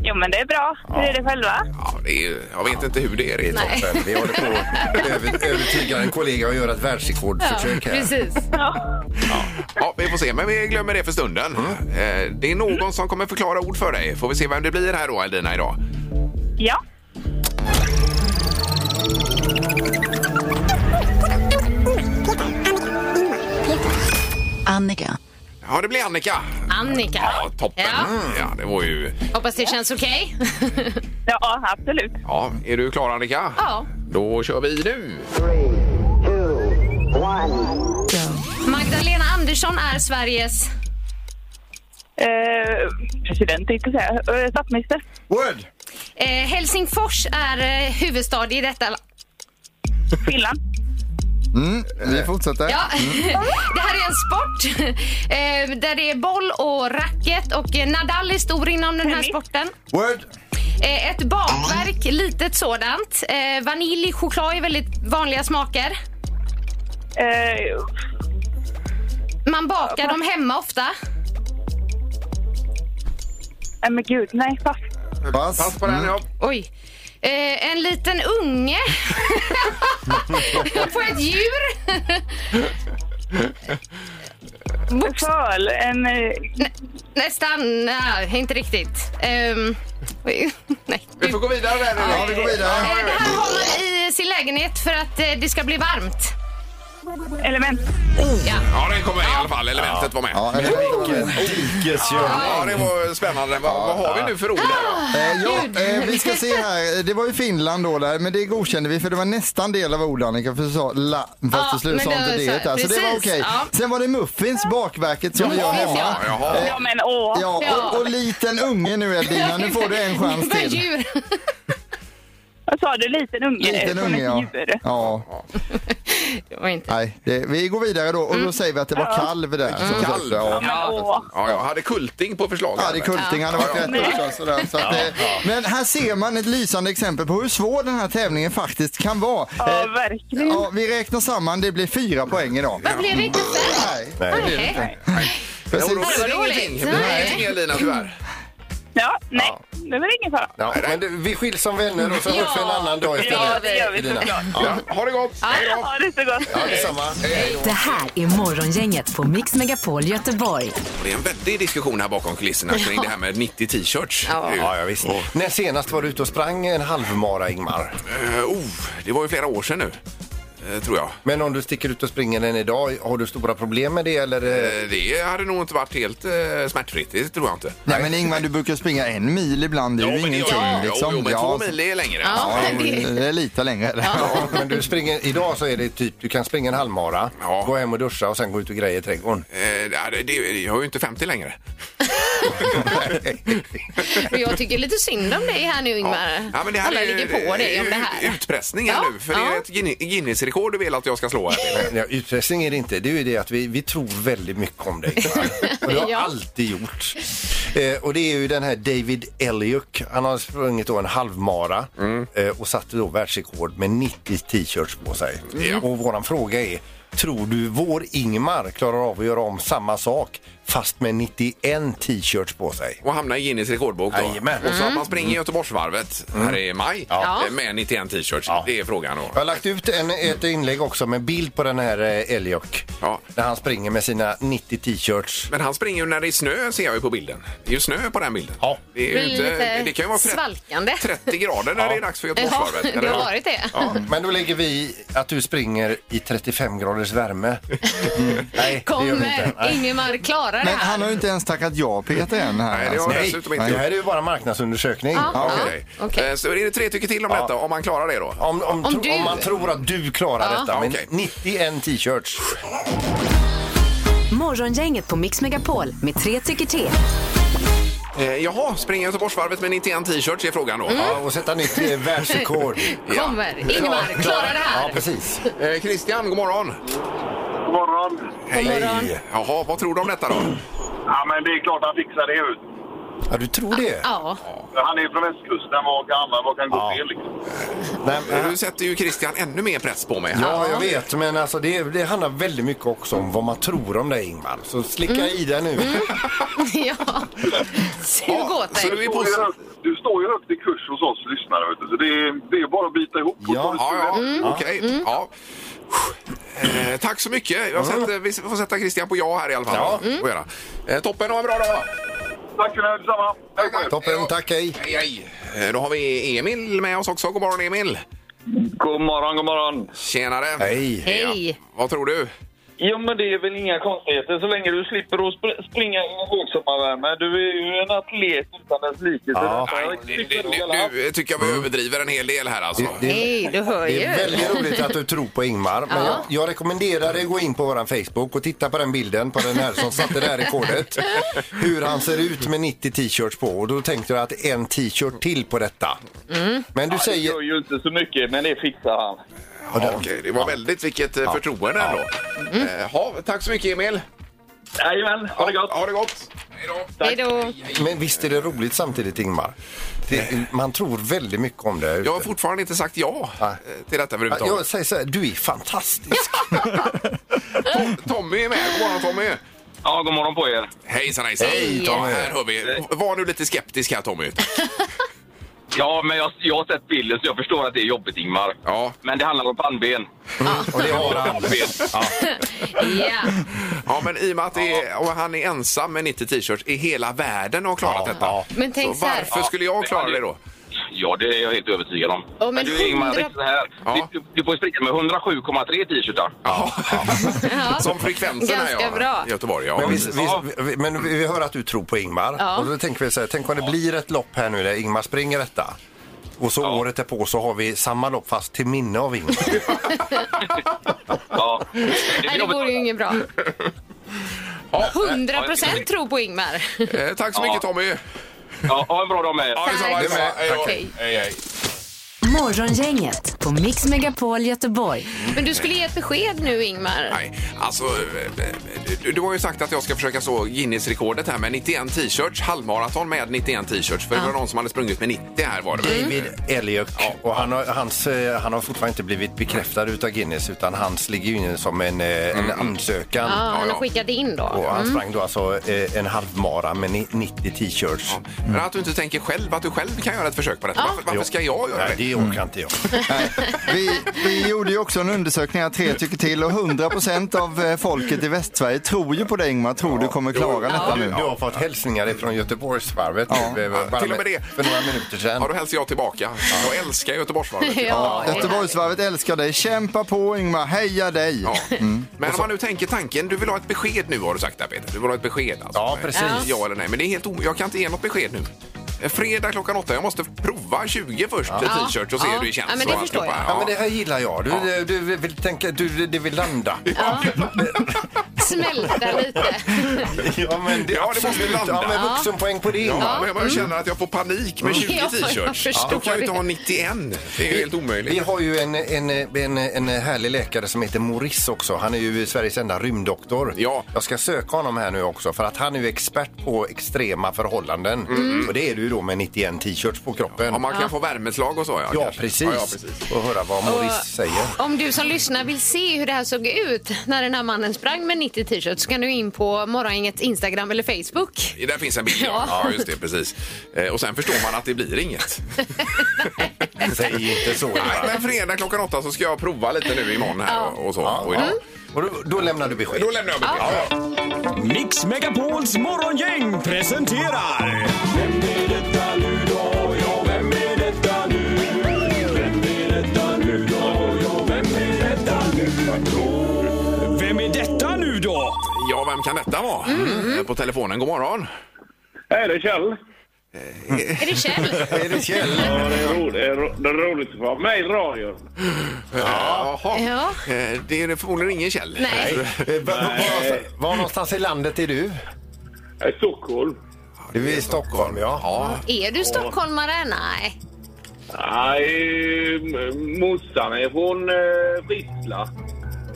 G: Jo, men det är bra. Hur är det själva?
C: Ja, det är, jag vet inte hur det är. Erik.
E: Nej.
D: Men Vi håller på att över- övertyga en kollega att göra ett världsrekordförsök här.
E: precis.
G: Ja.
C: Ja, vi får se, men vi glömmer det för stunden. Eh, Det är någon som kommer förklara ord för dig. Får vi se vem det blir här då, Eldina, idag.
G: ja.
B: Annika.
C: Ja, det blir Annika.
E: Annika.
C: Ja, toppen.
E: Ja.
C: Ja, det var ju...
E: Hoppas det känns okej. [laughs]
G: Ja, absolut.
C: Ja, är du klar Annika?
E: Ja.
C: Då kör vi nu.
E: Magdalena Andersson är Sveriges...
G: Eh, president tänkte jag säga. Eh,
F: [laughs]
G: statsminister.
F: Word!
E: Eh, Helsingfors är eh, huvudstad i detta... la-
G: Finland.
F: Vi fortsätter.
E: Ja. [laughs] det här är en sport [laughs] eh, där det är boll och racket och eh, Nadal är stor inom den här
G: Tennis.
E: sporten.
F: Word!
E: Eh, Ett bakverk, litet sådant. Eh, vanilj, choklad är väldigt vanliga smaker.
G: Eh,
E: Man bakar dem hemma ofta.
G: nej, eh, men gud, nej, pass.
F: Pass. Mm.
C: Pass på den, ja.
E: Oj. Eh, en liten unge. [laughs] På ett djur. Box-
G: Föl, en... eh,
E: nästan. Nej, inte riktigt. Ehm, oj, [laughs] nej.
C: Vi får gå vidare där nu.
F: Ja, vi går vidare.
E: Eh, Det här har man i i sin lägenhet för att eh, det ska bli varmt.
G: Element.
C: Ja, den kommer i alla fall. Elementet var med. Ja,
F: Ja, eller-
D: Dikesgörning.
C: det var spännande. Vad, vad har vi nu för ord här då?
F: Eh, ja, eh, vi ska se här. Det var ju Finland då där, men det godkände vi för det var nästan del av ord Annika, för du sa la, fast
E: Ja,
F: till slut
E: men
F: sa
E: det
F: inte
E: var
F: det
E: så här,
F: där. Så det var
E: precis,
F: okej.
E: ja.
F: Sen var det muffins, bakverket som vi gör
E: Muffins,
F: hemma.
C: Ja, Jaha.
G: Ja, men åh.
F: Ja, och, och liten unge nu Edvina, nu får du
E: [laughs]
F: en
E: Det
F: chans
E: var
F: till.
E: djur.
G: Vad sa du? Liten unge?
F: Liten
G: Som
F: unge
G: ett
F: ja.
G: djur.
F: ja.
E: Det var inte.
F: Nej, det, vi går vidare då och då säger vi att det var Mm. kalv där. som sagt,
C: Kalv.
F: Ja.
G: Men åh.
C: Ja, jag hade kulting på förslaget.
F: Ja, det är Kulting. Han har varit rätt också. Sådär, så att, eh, Men här ser man ett lysande exempel på hur svår den här tävlingen faktiskt kan vara.
G: Ja,
F: Eh,
G: verkligen.
F: Ja, vi räknar samman, det blir fyra poäng idag.
E: Vad blev det inte fem?
F: Nej,
D: Nej.
E: Nej.
C: Jo, då
F: precis.
C: blir det
E: Det var
C: ingenting.
E: roligt.
C: Det blir
E: Nej.
C: ingenting, Elina, tyvärr.
G: Ja, nej. Det är väl ingen fara.
D: Ja, men det, vi skiljs som vänner och så
E: Ja.
D: hörs vi en annan dag
G: Ja,
D: istället.
G: det gör vi
D: Elina.
G: såklart.
C: Ja, ha det gott! Hej då!
G: Ja, det är så gott.
D: Ja, detsamma.
B: Det här är Morgongänget på Mix Megapol Göteborg.
C: Det är en väldig diskussion här bakom kulisserna kring det här med 90 t-shirts.
E: Ja.
D: Ja, ja, visst. När senast var du ute och sprang en halvmara, Ingmar?
C: Eh, oh, det var ju flera år sedan nu, eh, tror jag.
D: Men om du sticker ut och springer den idag, har du stora problem med det eller? eh,
C: Eh, Det hade nog inte varit helt eh, smärtfritt, det tror jag inte.
F: Nej men Ingmar, du brukar springa en mil ibland. Det är ju
C: men det gör
F: ingenting
C: jag.
F: liksom.
C: Jo, jo, men
F: Ja,
C: två mil är längre.
E: Ja.
F: Ja, det är lite längre.
D: Ja, men du springer, idag så är det typ, du kan springa en halvmara,
C: Ja.
D: gå hem och duscha och sen gå ut och greja i trädgården.
C: Eh, det, det, jag är ju inte 50 längre.
E: Och jag tycker lite synd om dig här nu Ingmar.
C: Ja, men det här
E: Alla
C: är ju-
E: ligger på dig om det här.
C: Utpressning här
E: Ja,
C: nu, för det
E: ja.
C: är ett Guin- Guinness-rekord du vill att jag ska slå. Här.
D: Ja, utpressning är det inte. Det är ju det att vi, vi tror väldigt mycket om dig. va? Och det har
E: Ja.
D: alltid gjort. Eh, och det är ju den här David Elliot. Han har sprungit då en halvmara eh, och satte då världsrekord med 90 t-shirts på sig. Och våran fråga är, tror du vår Ingmar klarar av att göra om samma sak fast med 91 t-shirts på sig?
C: Och hamna i Guinness rekordbok då.
D: Jajamän.
C: Och så att man springer Göteborgsvarvet här i maj
E: Mm. Ja.
C: eh, med 91 t-shirts. Det är frågan då.
D: Jag har lagt ut en, ett inlägg också med bild på den här eh, Elliot.
C: Ja.
D: Där han springer med sina 90 t-shirts.
C: Men han springer ju när det är snö ser jag ju på bilden. Det är ju snö på den bilden.
D: Ja.
C: Det, är
E: Blir
C: ju inte,
E: lite
C: det kan ju vara 30,
E: svalkande.
C: 30 grader när det är dags för
E: Ja,
C: Göteborgsvarvet.
E: det
C: eller?
E: har varit det.
D: Ja, men då lägger vi att du springer i 35 graders värme. [laughs] Nej, det gör vi inte.
E: Kommer
D: Nej.
E: Ingemar klara det
F: Men han
E: här?
F: har ju inte ens tackat ja Peter än här.
C: Nej, det har
F: alltså.
C: jag
D: Nej,
C: dessutom inte
D: det här
C: gjort.
D: är ju bara marknadsundersökning.
E: Ja.
C: Ja, okej.
E: okej.
C: Eh, Så är det tre tycker till om detta, om man klarar det då.
D: Om, om,
E: Om
D: tro,
E: du-
D: om man tror att du klarar detta med
C: Okej.
D: 91 t-shirts.
B: Morgongänget på Mix Megapol med tre tycker till.
C: Eh, jaha, springer Göteborgsvarvet med 91 t-shirts är frågan då.
D: Ja, och sätta nytt eh, världsrekord.
E: Kommer Ingemar klara det
D: Ja,
E: här?
D: precis.
C: Eh, Christian, god morgon.
H: God morgon.
C: Hej. Jaha, vad tror du om detta då?
J: Eh.
H: Ja, men det är klart han fixar det ut.
D: Ja, du tror det?
E: Ja,
H: Han är ju från västkusten. Vad kan, alla, vad kan gå
D: Ja.
H: fel? Liksom?
D: Nej, men-
C: Nu sätter ju Christian ännu mer press på mig. här.
D: Ja, jag vet, men alltså det, det handlar väldigt mycket också om vad man tror om dig, Ingmar. Så slicka
E: Mm.
D: i dig nu.
E: ja. Sug
C: Ja,
E: åt
C: så du
H: Du står
E: dig.
C: är
H: ju
C: positiv.
J: Mm.
H: högt- Du står ju högt i kurs hos oss lyssnare. Vet du. Så det, är, det är bara att bita ihop. och
D: Ja,
H: ta det
C: Ja,
H: stora.
C: ja, okej. Ja. Eh, tack så mycket.
J: Mm.
C: Jag sätter, vi får sätta Christian på ja här i alla fall.
D: Ja.
C: Och göra. Eh, toppen, ha en bra dag!
H: Tack för det. här, Detsamma. Hej på er.
D: Toppen, tack, hej.
C: Hej, hej. Eh, Då har vi Emil med oss också. God morgon Emil!
J: God morgon, god morgon.
C: Tjenare!
D: Hej.
E: Hej.
C: Vad tror du?
J: Jo, men det är väl inga konstigheter så länge du slipper att sp- springa i högsommarvärme. Du är ju en atlet utan dess like. så
D: Ja.
J: detta
C: Nej, det, det,
J: slipper du
C: nu,
J: alla.
C: nu tycker jag vi överdriver en hel del här alltså.
D: Det-
E: Hej, du hör
D: Det
E: ju.
D: är väldigt roligt att du tror på Ingmar. Men jag,
E: Ja.
D: jag rekommenderar dig att gå in på vår Facebook och titta på den bilden på den här som satte det här rekordet. Hur han ser ut med 90 t-shirts på. Och då tänkte jag att en t-shirt till på detta.
E: Mm.
D: Men du
J: Det
D: säger...
J: gör ju inte så mycket, men det fixar han.
C: Ja, okej, det var väldigt vilket eh, förtroende ändå. Eh, ha, tack så mycket Emil!
J: Jajamän, ha det gott!
C: Ha det gott! Hej då!
E: Hej då.
D: Men visst är det roligt samtidigt Ingmar? Det, man tror väldigt mycket om det.
C: Jag har fortfarande inte sagt ja
D: Nej.
C: eh, till
D: Ja,
C: detta överhuvudtaget.
D: Jag säger så här, du är fantastisk.
C: Tommy är med. God morgon Tommy!
J: Ja, god morgon på er.
C: Hejsan hejsan!
D: Hej,
C: Ja,
D: Tommy.
C: här hör vi. Var nu lite skeptisk här Tommy.
J: Ja, men jag, jag har sett bilden så jag förstår att det är jobbigt, Ingmar.
C: Ja.
J: Men det handlar om pannben.
D: Och det har han.
E: Ja.
C: Ja, men i och med att det är, och han är ensam med 90 t-shirts i hela världen har klarat detta.
E: Men tänk
C: Så
E: så här.
C: varför skulle jag klara det då?
K: Ja, det är jag helt övertygad om.
E: Ja, men
K: du Ingmar,
E: 100
K: riktigt så här.
C: Ja.
K: Du, du får springa med 107,3 t-shirtar.
C: Ja.
E: Ja.
C: Som frekvensen är
E: Ganska
C: jag.
E: bra.
C: I Göteborg, ja.
D: Men vi, vi, vi, men vi hör att du tror på Ingmar.
E: Ja.
D: Och då tänker vi så här, tänk om det blir ett lopp här nu där Ingmar springer detta. Och så året är på så har vi samma lopp fast till minne av Ingmar.
K: Ja.
E: [laughs] Nej, det vore ju inget bra. 100 procent tro på Ingmar.
C: Eh, Tack så mycket Tommy.
K: Ja, ha en bra dag med er.
C: Ja, detsamma,
E: Tack.
C: detsamma. Hej då.
E: Okej.
C: [laughs] Hej, hej.
B: Morgongänget på Mix Megapol Göteborg.
E: Men du skulle ge ett besked nu, Ingmar.
C: Nej, alltså, eh, eh, du, du har ju sagt att jag ska försöka så Guinness-rekordet här med 91 t-shirts, halvmaraton med 91 t-shirts. För det var någon som hade sprungit med 90 här var det väl?
D: David Elliot. Och han har, hans, eh, han har fortfarande inte blivit bekräftad utav Guinness utan hans ligger ju inne som en, eh, en
C: Mm.
D: ansökan.
E: Ja, Mm. han
C: ja.
E: har skickat in
D: Och
E: då.
D: han sprang då alltså eh, en halvmara med ni- 90 t-shirts.
C: Mm. Men att du inte tänker själv att du själv kan göra ett försök på detta. Varför, varför ska jag göra
D: Nej,
C: det?
D: det orkar inte jag.
F: Nej, vi, vi gjorde ju också en undersökning här, tre tycker till och 100% av eh, folket i Västsverige tror ju på dig Ingmar, tror du kommer klara detta
D: Du,
F: nu.
D: du har fått hälsningar från Göteborgsvarvet nu, eh, bara
C: till och med
D: med-
C: det.
D: för några minuter sedan.
C: Ja, då hälsar jag tillbaka. Jag älskar Göteborgsvarvet.
E: [laughs] [laughs] Ja, det är härligt.
F: Göteborgsvarvet älskar dig, kämpa på Ingmar, heja dig!
C: Ja. Men om man nu tänker tanken, du vill ha ett besked nu har du sagt där Peter. Du vill ha ett besked alltså.
D: Ja, precis.
C: Ja, eller nej. Men det är helt o... jag kan inte ge något besked nu. Eh, Fredag klockan åtta, jag måste prova 20 först eh, t-shirt och se
E: Ja.
C: hur det känns.
E: Ja, men det
C: och
E: förstår
C: alltihopa.
E: jag.
D: Ja, men det här gillar jag. Du, du, du vill tänka, du, det vill
C: [laughs]
D: landa.
E: Smälta lite.
D: Ja, men
C: Ja, det måste landa.
D: Ja, men vuxenpoäng på det
C: Ja,
D: Ingmar.
C: men jag känner att jag får panik med 20
E: Ja, jag
C: t-shirts.
E: förstår
C: Då kan jag inte
E: det.
C: ha 91. Det är ju helt
D: Vi
C: omöjligt.
D: har ju en, en, en, en härlig läkare som heter Maurice också. Han är ju Sveriges enda rymddoktor.
C: Ja.
D: Jag ska söka honom här nu också för att han är ju expert på extrema förhållanden. Och det är du ju då med 91 t-shirts på kroppen.
C: Om Mm. man kan få värmeslag och så ja.
D: Ja,
C: kanske.
D: precis.
C: Ja, ja, precis.
D: Och höra vad Maurice säger.
E: Om du som lyssnar vill se hur det här såg ut när den här mannen sprang med 90 t-shirts så kan du in på Morgongängets Instagram eller Facebook.
C: Där finns en bild. Ja. ja, just det. Precis. Eh, Och sen förstår man att det blir inget.
D: Säg inte så
C: Nej,
D: Ingmar.
C: men fredag klockan åtta så ska jag prova lite nu imorgon här och, och så. Och idag.
D: Och då, då lämnar du besked.
C: Då lämnar jag besked. Ja. ja.
A: Mix Megapols morgongäng presenterar... Vem är detta nu då? Ja, vem är detta nu? Vem är detta nu då? Ja, vem är detta nu då? Vem är detta nu då?
C: ja, vem kan detta vara? Eh, På telefonen. God morgon.
J: Hej, det är Kjell.
E: Är det Kjell?
D: Är det Kjell?
J: Ja, det är roligt. Det är ro- det är roligt att vara med i radion.
C: Ja. Jaha.
E: Ja.
C: Eh, Det är förmodligen ingen Kjell.
E: Nej.
D: Eh, va- va- var- Var någonstans i landet är du?
J: Jag är i Stockholm.
D: Du är i Stockholm, ja.
C: Ja.
E: Är du stockholmare? Nej.
J: Nej, eh, morsan är från eh, Fritsla.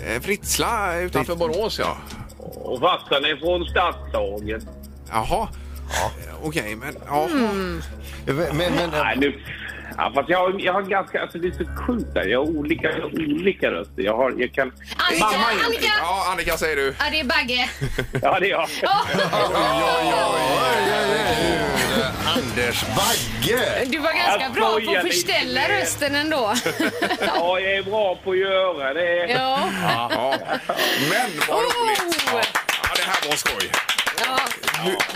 C: Eh, Fritsla utanför Borås, ja.
J: Och farsan är från Stadshagen.
C: Jaha. Eh, Okej, men ja.
D: Men, men,
J: Nej, nu... Ja, fast jag har, jag har ganska... Alltså det är så sjukt där. Jag har olika, jag har olika röster. Jag har... Jag kan...
E: Annika!
J: Mamma är-
E: Annika!
C: Ja, Annika säger du.
E: Ja, det är Bagge.
J: Ja, det är jag.
C: Eh,
D: Anders Bagge!
E: Du var ganska
J: Jag
E: bra på
J: skojar
E: att förställa
J: lite med er.
E: rösten ändå.
J: Ja, jag är bra på att göra det.
E: Ja.
C: Ja. Men vad roligt! Ja. ja, det här var skoj.
E: ja.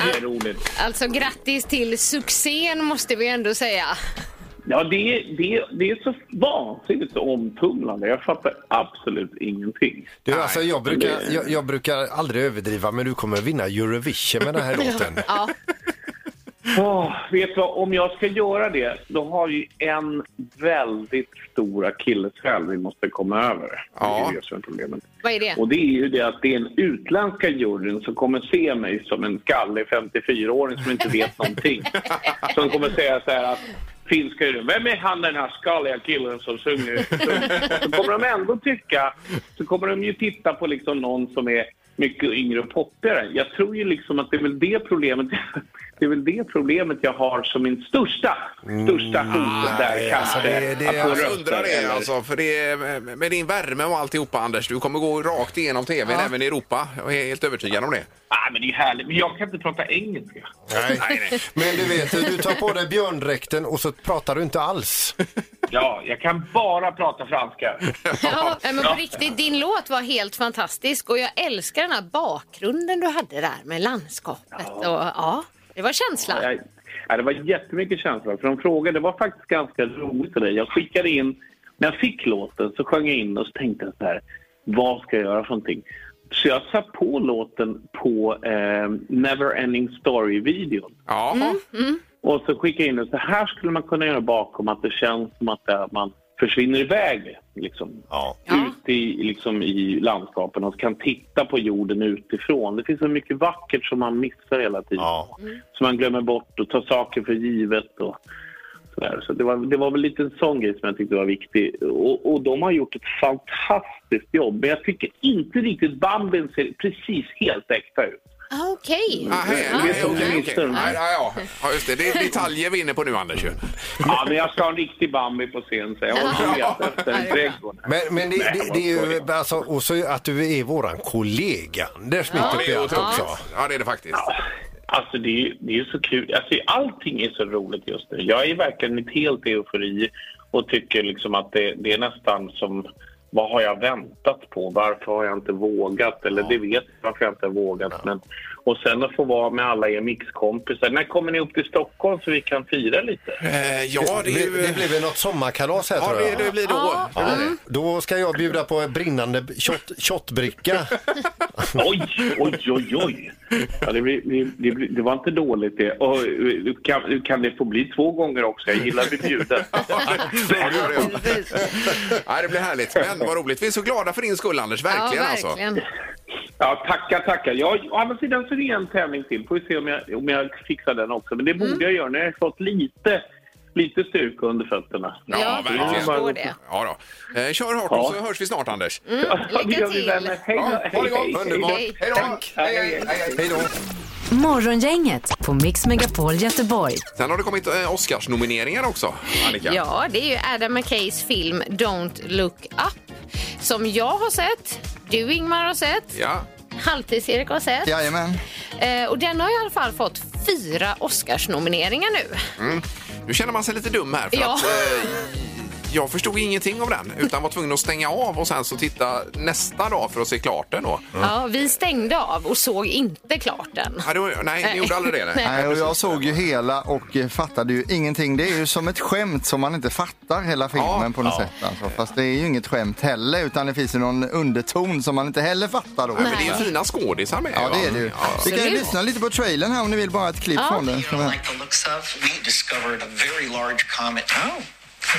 J: Det är roligt.
E: Alltså grattis till succén måste vi ändå säga.
J: Ja, det, det, det är så vansinnigt så omtumlande. Jag fattar absolut ingenting.
D: Du, alltså, jag, brukar, jag, jag brukar aldrig överdriva, men du kommer vinna Eurovision med den
C: [laughs]
D: här låten.
E: Ja.
J: Åh, vet du vad, om jag ska göra det, då har vi en väldigt stor akilleshäl vi måste komma över. Det
C: Ja.
J: är det som är problemet.
E: Vad är det?
J: Och det är ju det att det är en utländska juryn som kommer se mig som en skallig 54-åring som inte vet någonting. Som kommer säga så här att finska juryn, vem är han den här skalliga killen som sjunger? Och Så kommer de ändå tycka, så kommer de ju titta på liksom någon som är mycket yngre och poppigare. Jag tror ju liksom att det är väl det problemet, [laughs] det är väl det problemet jag har som min största,
C: Mm.
J: största
C: Ah,
J: hot där
D: nej, alltså
J: kanske.
D: det- det-
J: att få
C: Jag
J: röster
C: undrar det
J: eller-
C: alltså, för det är, med din värme och alltihopa Anders, du kommer gå rakt igenom tvn även i Europa. Jag är helt övertygad om det.
J: Nej, Ah, men det är ju härligt. Men jag kan inte prata engelska.
D: Nej. Men du vet, du tar på dig björndräkten och så pratar du inte alls.
J: Ja, jag kan bara prata franska.
E: Ja, men på riktigt, din låt var helt fantastisk och jag älskar den här bakgrunden du hade där med landskapet. Och, ja, det var känslan.
J: Jag, Ja, det var jättemycket känslor. För de frågade, det var faktiskt ganska roligt. Det. Jag skickade in, när jag fick låten så sjöng jag in och så tänkte jag så här, vad ska jag göra för någonting? Så jag satte på låten på eh, Neverending Story-videon.
C: Ja.
J: Och så skickade jag in den, så här skulle man kunna göra bakom att det känns som att eh, man försvinner iväg liksom. Ut i, liksom, i landskapen och kan titta på jorden utifrån. Det finns så mycket vackert som man missar hela tiden. Som man glömmer bort och tar saker för givet. Och sådär. Så det, var, det var väl lite en sån grej som jag tyckte var viktig. Och, och de har gjort ett fantastiskt jobb. Men jag tycker inte riktigt Bambin ser precis helt äkta ut.
E: Ah, Okej.
C: Ah, hej,
J: Ja.
C: hej, okej, okej.
J: Ministern.
C: Nej, nej, ja. ja, just det. Det är detaljer vi är inne på nu, Anders. ju.
J: Ja, men jag ska ha en riktig Bambi på scen så jag håller på att leta efter en trädgård.
L: Men, men det, det, det är ju alltså, och så att du är våran kollega Anders mitt uppe i allt också.
C: Ja, det är det faktiskt.
J: Alltså det är, ju- det är ju så kul. Alltså allting är så roligt just nu. Jag är verkligen mitt helt eufori och tycker liksom att det, det är nästan som vad har jag väntat på? Varför har jag inte vågat? Eller det vet jag varför jag inte har vågat. Men, och sen att få vara med alla er mixkompisar. När kommer ni upp till Stockholm så vi kan fira
C: [laughs]
J: lite?
C: Eh, ja,
L: det, det, blir väl något sommarkalas här
C: Ja,
L: tror jag.
C: det, Mm. det blir då. [laughs]
L: Ja, Då ska jag bjuda på en brinnande shot,
C: [laughs]
L: shotbricka.
J: Oj, oj, oj, oj! Ja, det, blir, det, det, blir, det var inte dåligt det. Och, eh, kan, kan det få bli två gånger också? Jag gillar att bli bjuden.
C: Ja, [laughs] det gör det. Ja, det blir härligt. Men vad roligt. Vi är så glada för din skull, Anders. Verkligen, alltså.
J: Ja, tackar, tackar. Jag, å andra sidan så är det en tävling till. Får vi se om jag, om jag fixar den också. Men det borde jag göra när jag har fått lite, lite styrka under fötterna.
C: Ja, verkligen.
J: Ja, bara-
C: Ja, då. Eh, kör hårt och så hörs vi snart, Anders.
J: [laughs] Ja, det gör vi, vänner. Hej då.
C: Ja, ha
J: Hej,
C: det gott.
J: hej,
C: Underbart.
J: hej.
C: Hej då. Hej, hej, hej, hej.
B: Morgongänget på Mix Megapol Göteborg.
C: Sen har det kommit eh, Oscars-nomineringar också, Annika.
E: Ja, det är ju Adam McKays film Don't look up som jag har sett, du Ingmar har sett,
C: Ja.
E: Halvtids-Erik har sett.
F: Jajamän.
E: Eh, och den har i alla fall fått fyra Oscarsnomineringar nu.
C: Mm. Nu känner man sig lite dum här. För
E: Ja.
C: att, eh, jag förstod ingenting av den utan var tvungen att stänga av och sen så titta nästa dag för att se klart den. Då.
E: Ja, vi stängde av och såg inte klart den.
C: Ja, det var- nej, ni gjorde aldrig det? Nej.
F: Nej, och jag såg ju hela och eh, fattade ju ingenting. Det är ju som ett skämt som man inte fattar hela filmen på något
C: Ja.
F: sätt. Alltså. Fast det är ju inget skämt heller utan det finns ju någon underton som man inte heller fattar då.
C: Nej, men det är ju fina skådisar med.
F: Ja,
C: va?
F: det är det ju.
C: Ja.
F: Vi kan ju lyssna lite på trailern här om ni vill, bara ett klipp
M: Ja.
F: från den. Ska vi-
M: the looks of. We discovered a very large comet. Oh, good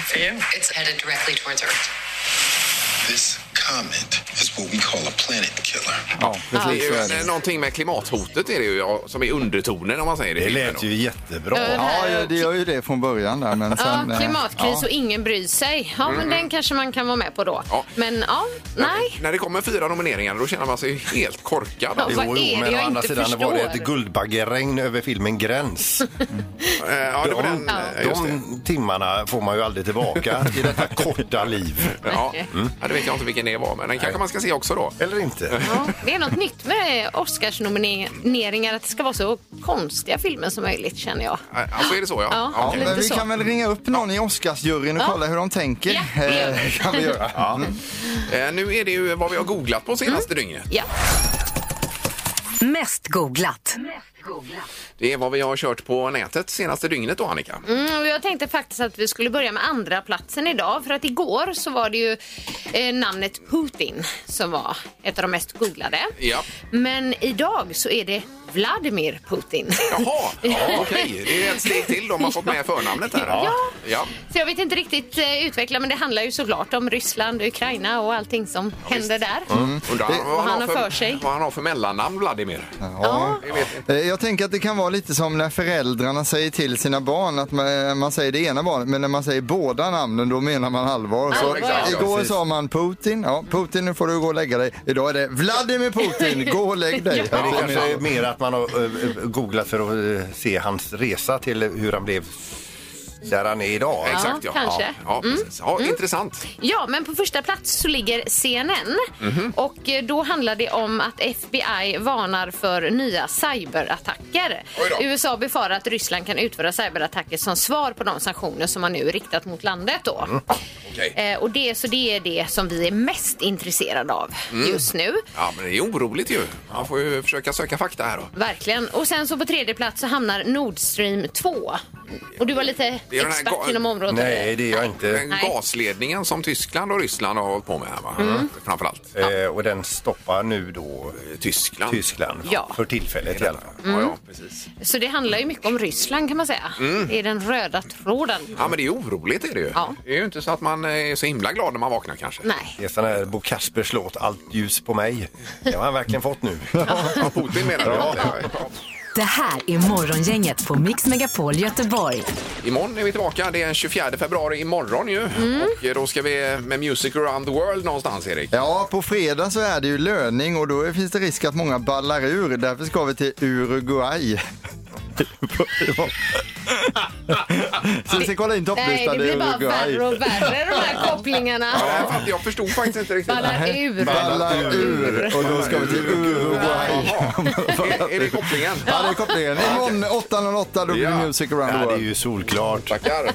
M: for you. It's headed directly towards Earth.
N: This comet is what we call a planet killer.
F: Ja,
C: det är ju en- någonting med klimathotet är det ju, ja, som är undertonen om man säger det. Det lät
L: ju jättebra.
E: Ja, den
F: Ja,
E: här-
F: ja, det gör ju det från början där. Men sen,
E: ja,
F: eh,
E: klimatkris
F: ja.
E: och ingen bryr sig. Ja, men
C: Mm.
E: den kanske man kan vara med på då.
C: Ja.
E: Men ja, nej.
C: När det kommer fyra nomineringar då känner man sig helt korkad. alltså.
E: Ja, vad Jo, jo, är det men å jag andra inte sidan,
L: Det var det
E: förstår?
L: ett guldbaggeregn över filmen
E: [laughs]
L: Gräns.
C: ja, det var den, eh, just
L: de timmarna får man ju aldrig tillbaka i
E: [laughs]
L: detta korta liv.
C: Ja.
E: Mm.
C: Ja, det vet jag inte vilken det var, men den kanske man ska se också då.
L: Eller inte.
E: Ja, det är något nytt med Oscarsnomineringar, att det ska vara så konstiga filmer som möjligt känner jag.
C: Alltså är det så, ja.
E: Ja,
C: Ja, okej.
E: lite
F: Men vi
E: så.
F: kan väl ringa upp någon i Oscarsjuryn och
E: Ja.
F: kolla hur de tänker.
E: Ja, det gör vi.
F: Eh, kan vi göra.
C: Ja. Eh, Nu är det ju vad vi har googlat
E: Mm.
C: på senaste dygnet.
E: Ja.
B: Mest googlat.
C: Det är vad vi har kört på nätet senaste dygnet då, Annika.
E: Mm, och jag tänkte faktiskt att vi skulle börja med andra platsen idag för att igår så var det ju eh, namnet Putin som var ett av de mest googlade.
C: Ja.
E: Men idag så är det Vladimir
C: [laughs]
E: Putin.
C: Jaha,
E: [laughs]
C: ja, okej. Det är ett steg till. De har fått med förnamnet här.
E: Ja.
C: ja.
E: Så jag vet inte riktigt eh, utveckla men det handlar ju såklart om Ryssland, Ukraina och allting som händer där.
C: Mm. Undrar
E: Det- Vad han har för sig.
C: vad han har för mellannamn, Vladimir.
F: Ja. Eh, Jag tänker att det kan vara lite som när föräldrarna säger till sina barn att man, eh, man säger det ena barnet, men när man säger båda namnen då menar man allvar. Så
C: Ja, exakt.
F: igår
C: Precis.
F: sa man Putin, ja Putin nu får du gå och lägga dig. Idag är det
E: [laughs]
F: Vladimir Putin, gå och lägg dig.
L: Men det
F: Ja,
L: kanske är
F: men-
D: eh,
L: mer att man har eh, googlat för att eh, se hans resa till hur han blev
D: där han är idag.
E: Ja, Exakt, ja. kanske. Ja, ja, Mm. precis. Ja, Mm.
C: Intressant.
E: Ja, men på första plats så ligger CNN.
C: Mhm.
E: Och eh, då handlar det om att FBI varnar för nya cyberattacker.
O: Oj då.
E: USA befarar att Ryssland kan utföra cyberattacker som svar på de sanktioner som man nu riktat mot landet. Då.
C: Mm.
E: Eh, och det, så det är det som vi är mest intresserade av
C: Mm.
E: just nu.
C: Ja, men det är oroligt ju. Man får ju försöka söka fakta här då.
E: Verkligen. Och sen så på tredje plats så hamnar Nord Stream 2. Och du var lite
C: Det är den här
E: expert
C: ga-
E: inom området.
D: Nej, det är jag inte.
C: Den
E: Nej.
C: gasledningen som Tyskland och Ryssland har hållit på med här va?
D: Mm.
C: Framförallt.
D: Eh, och den stoppar nu då eh,
C: Tyskland.
D: Tyskland
E: Ja.
D: för tillfället i alla fall.
E: Mm. Ja, ja,
C: precis.
E: Så det handlar ju mycket om Ryssland kan man säga.
C: Mm.
E: Det är den röda tråden.
C: Ja, men det är oroligt är det ju.
E: Ja.
C: Det är ju inte så att man eh, är så himla glad när man vaknar kanske.
E: Nej.
D: Det är sån här Bo Kaspers låt Allt ljus på mig. Det har han verkligen fått nu.
C: Putin menar du?
B: Det här är Morgongänget på Mix Megapol Göteborg.
C: Imorgon är vi tillbaka. Det är den 24 februari imorgon ju.
E: Mm.
C: Och eh, då ska vi med Music around the world någonstans, Erik.
F: Ja, på fredag så är det ju löning och då finns det risk att många ballar ur. Därför ska vi till Uruguay. så vi ska kolla in
E: Nej,
F: topplistan
E: det
F: i
E: blir bara
F: Uruguay.
E: värre och värre de här kopplingarna.
C: Jag förstod faktiskt inte riktigt.
E: Ballar ur.
F: Ballar ur och då ska vi till Uruguay.
C: Är det kopplingen?
F: Ja, det är kopplingen. Imorgon 8.08 då blir det Music around the world.
L: det är ju solklart.
C: Tackar.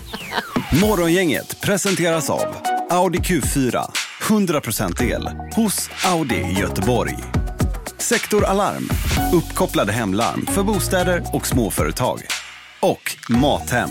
P: Morgongänget presenteras av Audi Q4. 100% el hos Audi Göteborg. Sektor Alarm. Uppkopplade hemlarm för bostäder och småföretag. Och Mathem.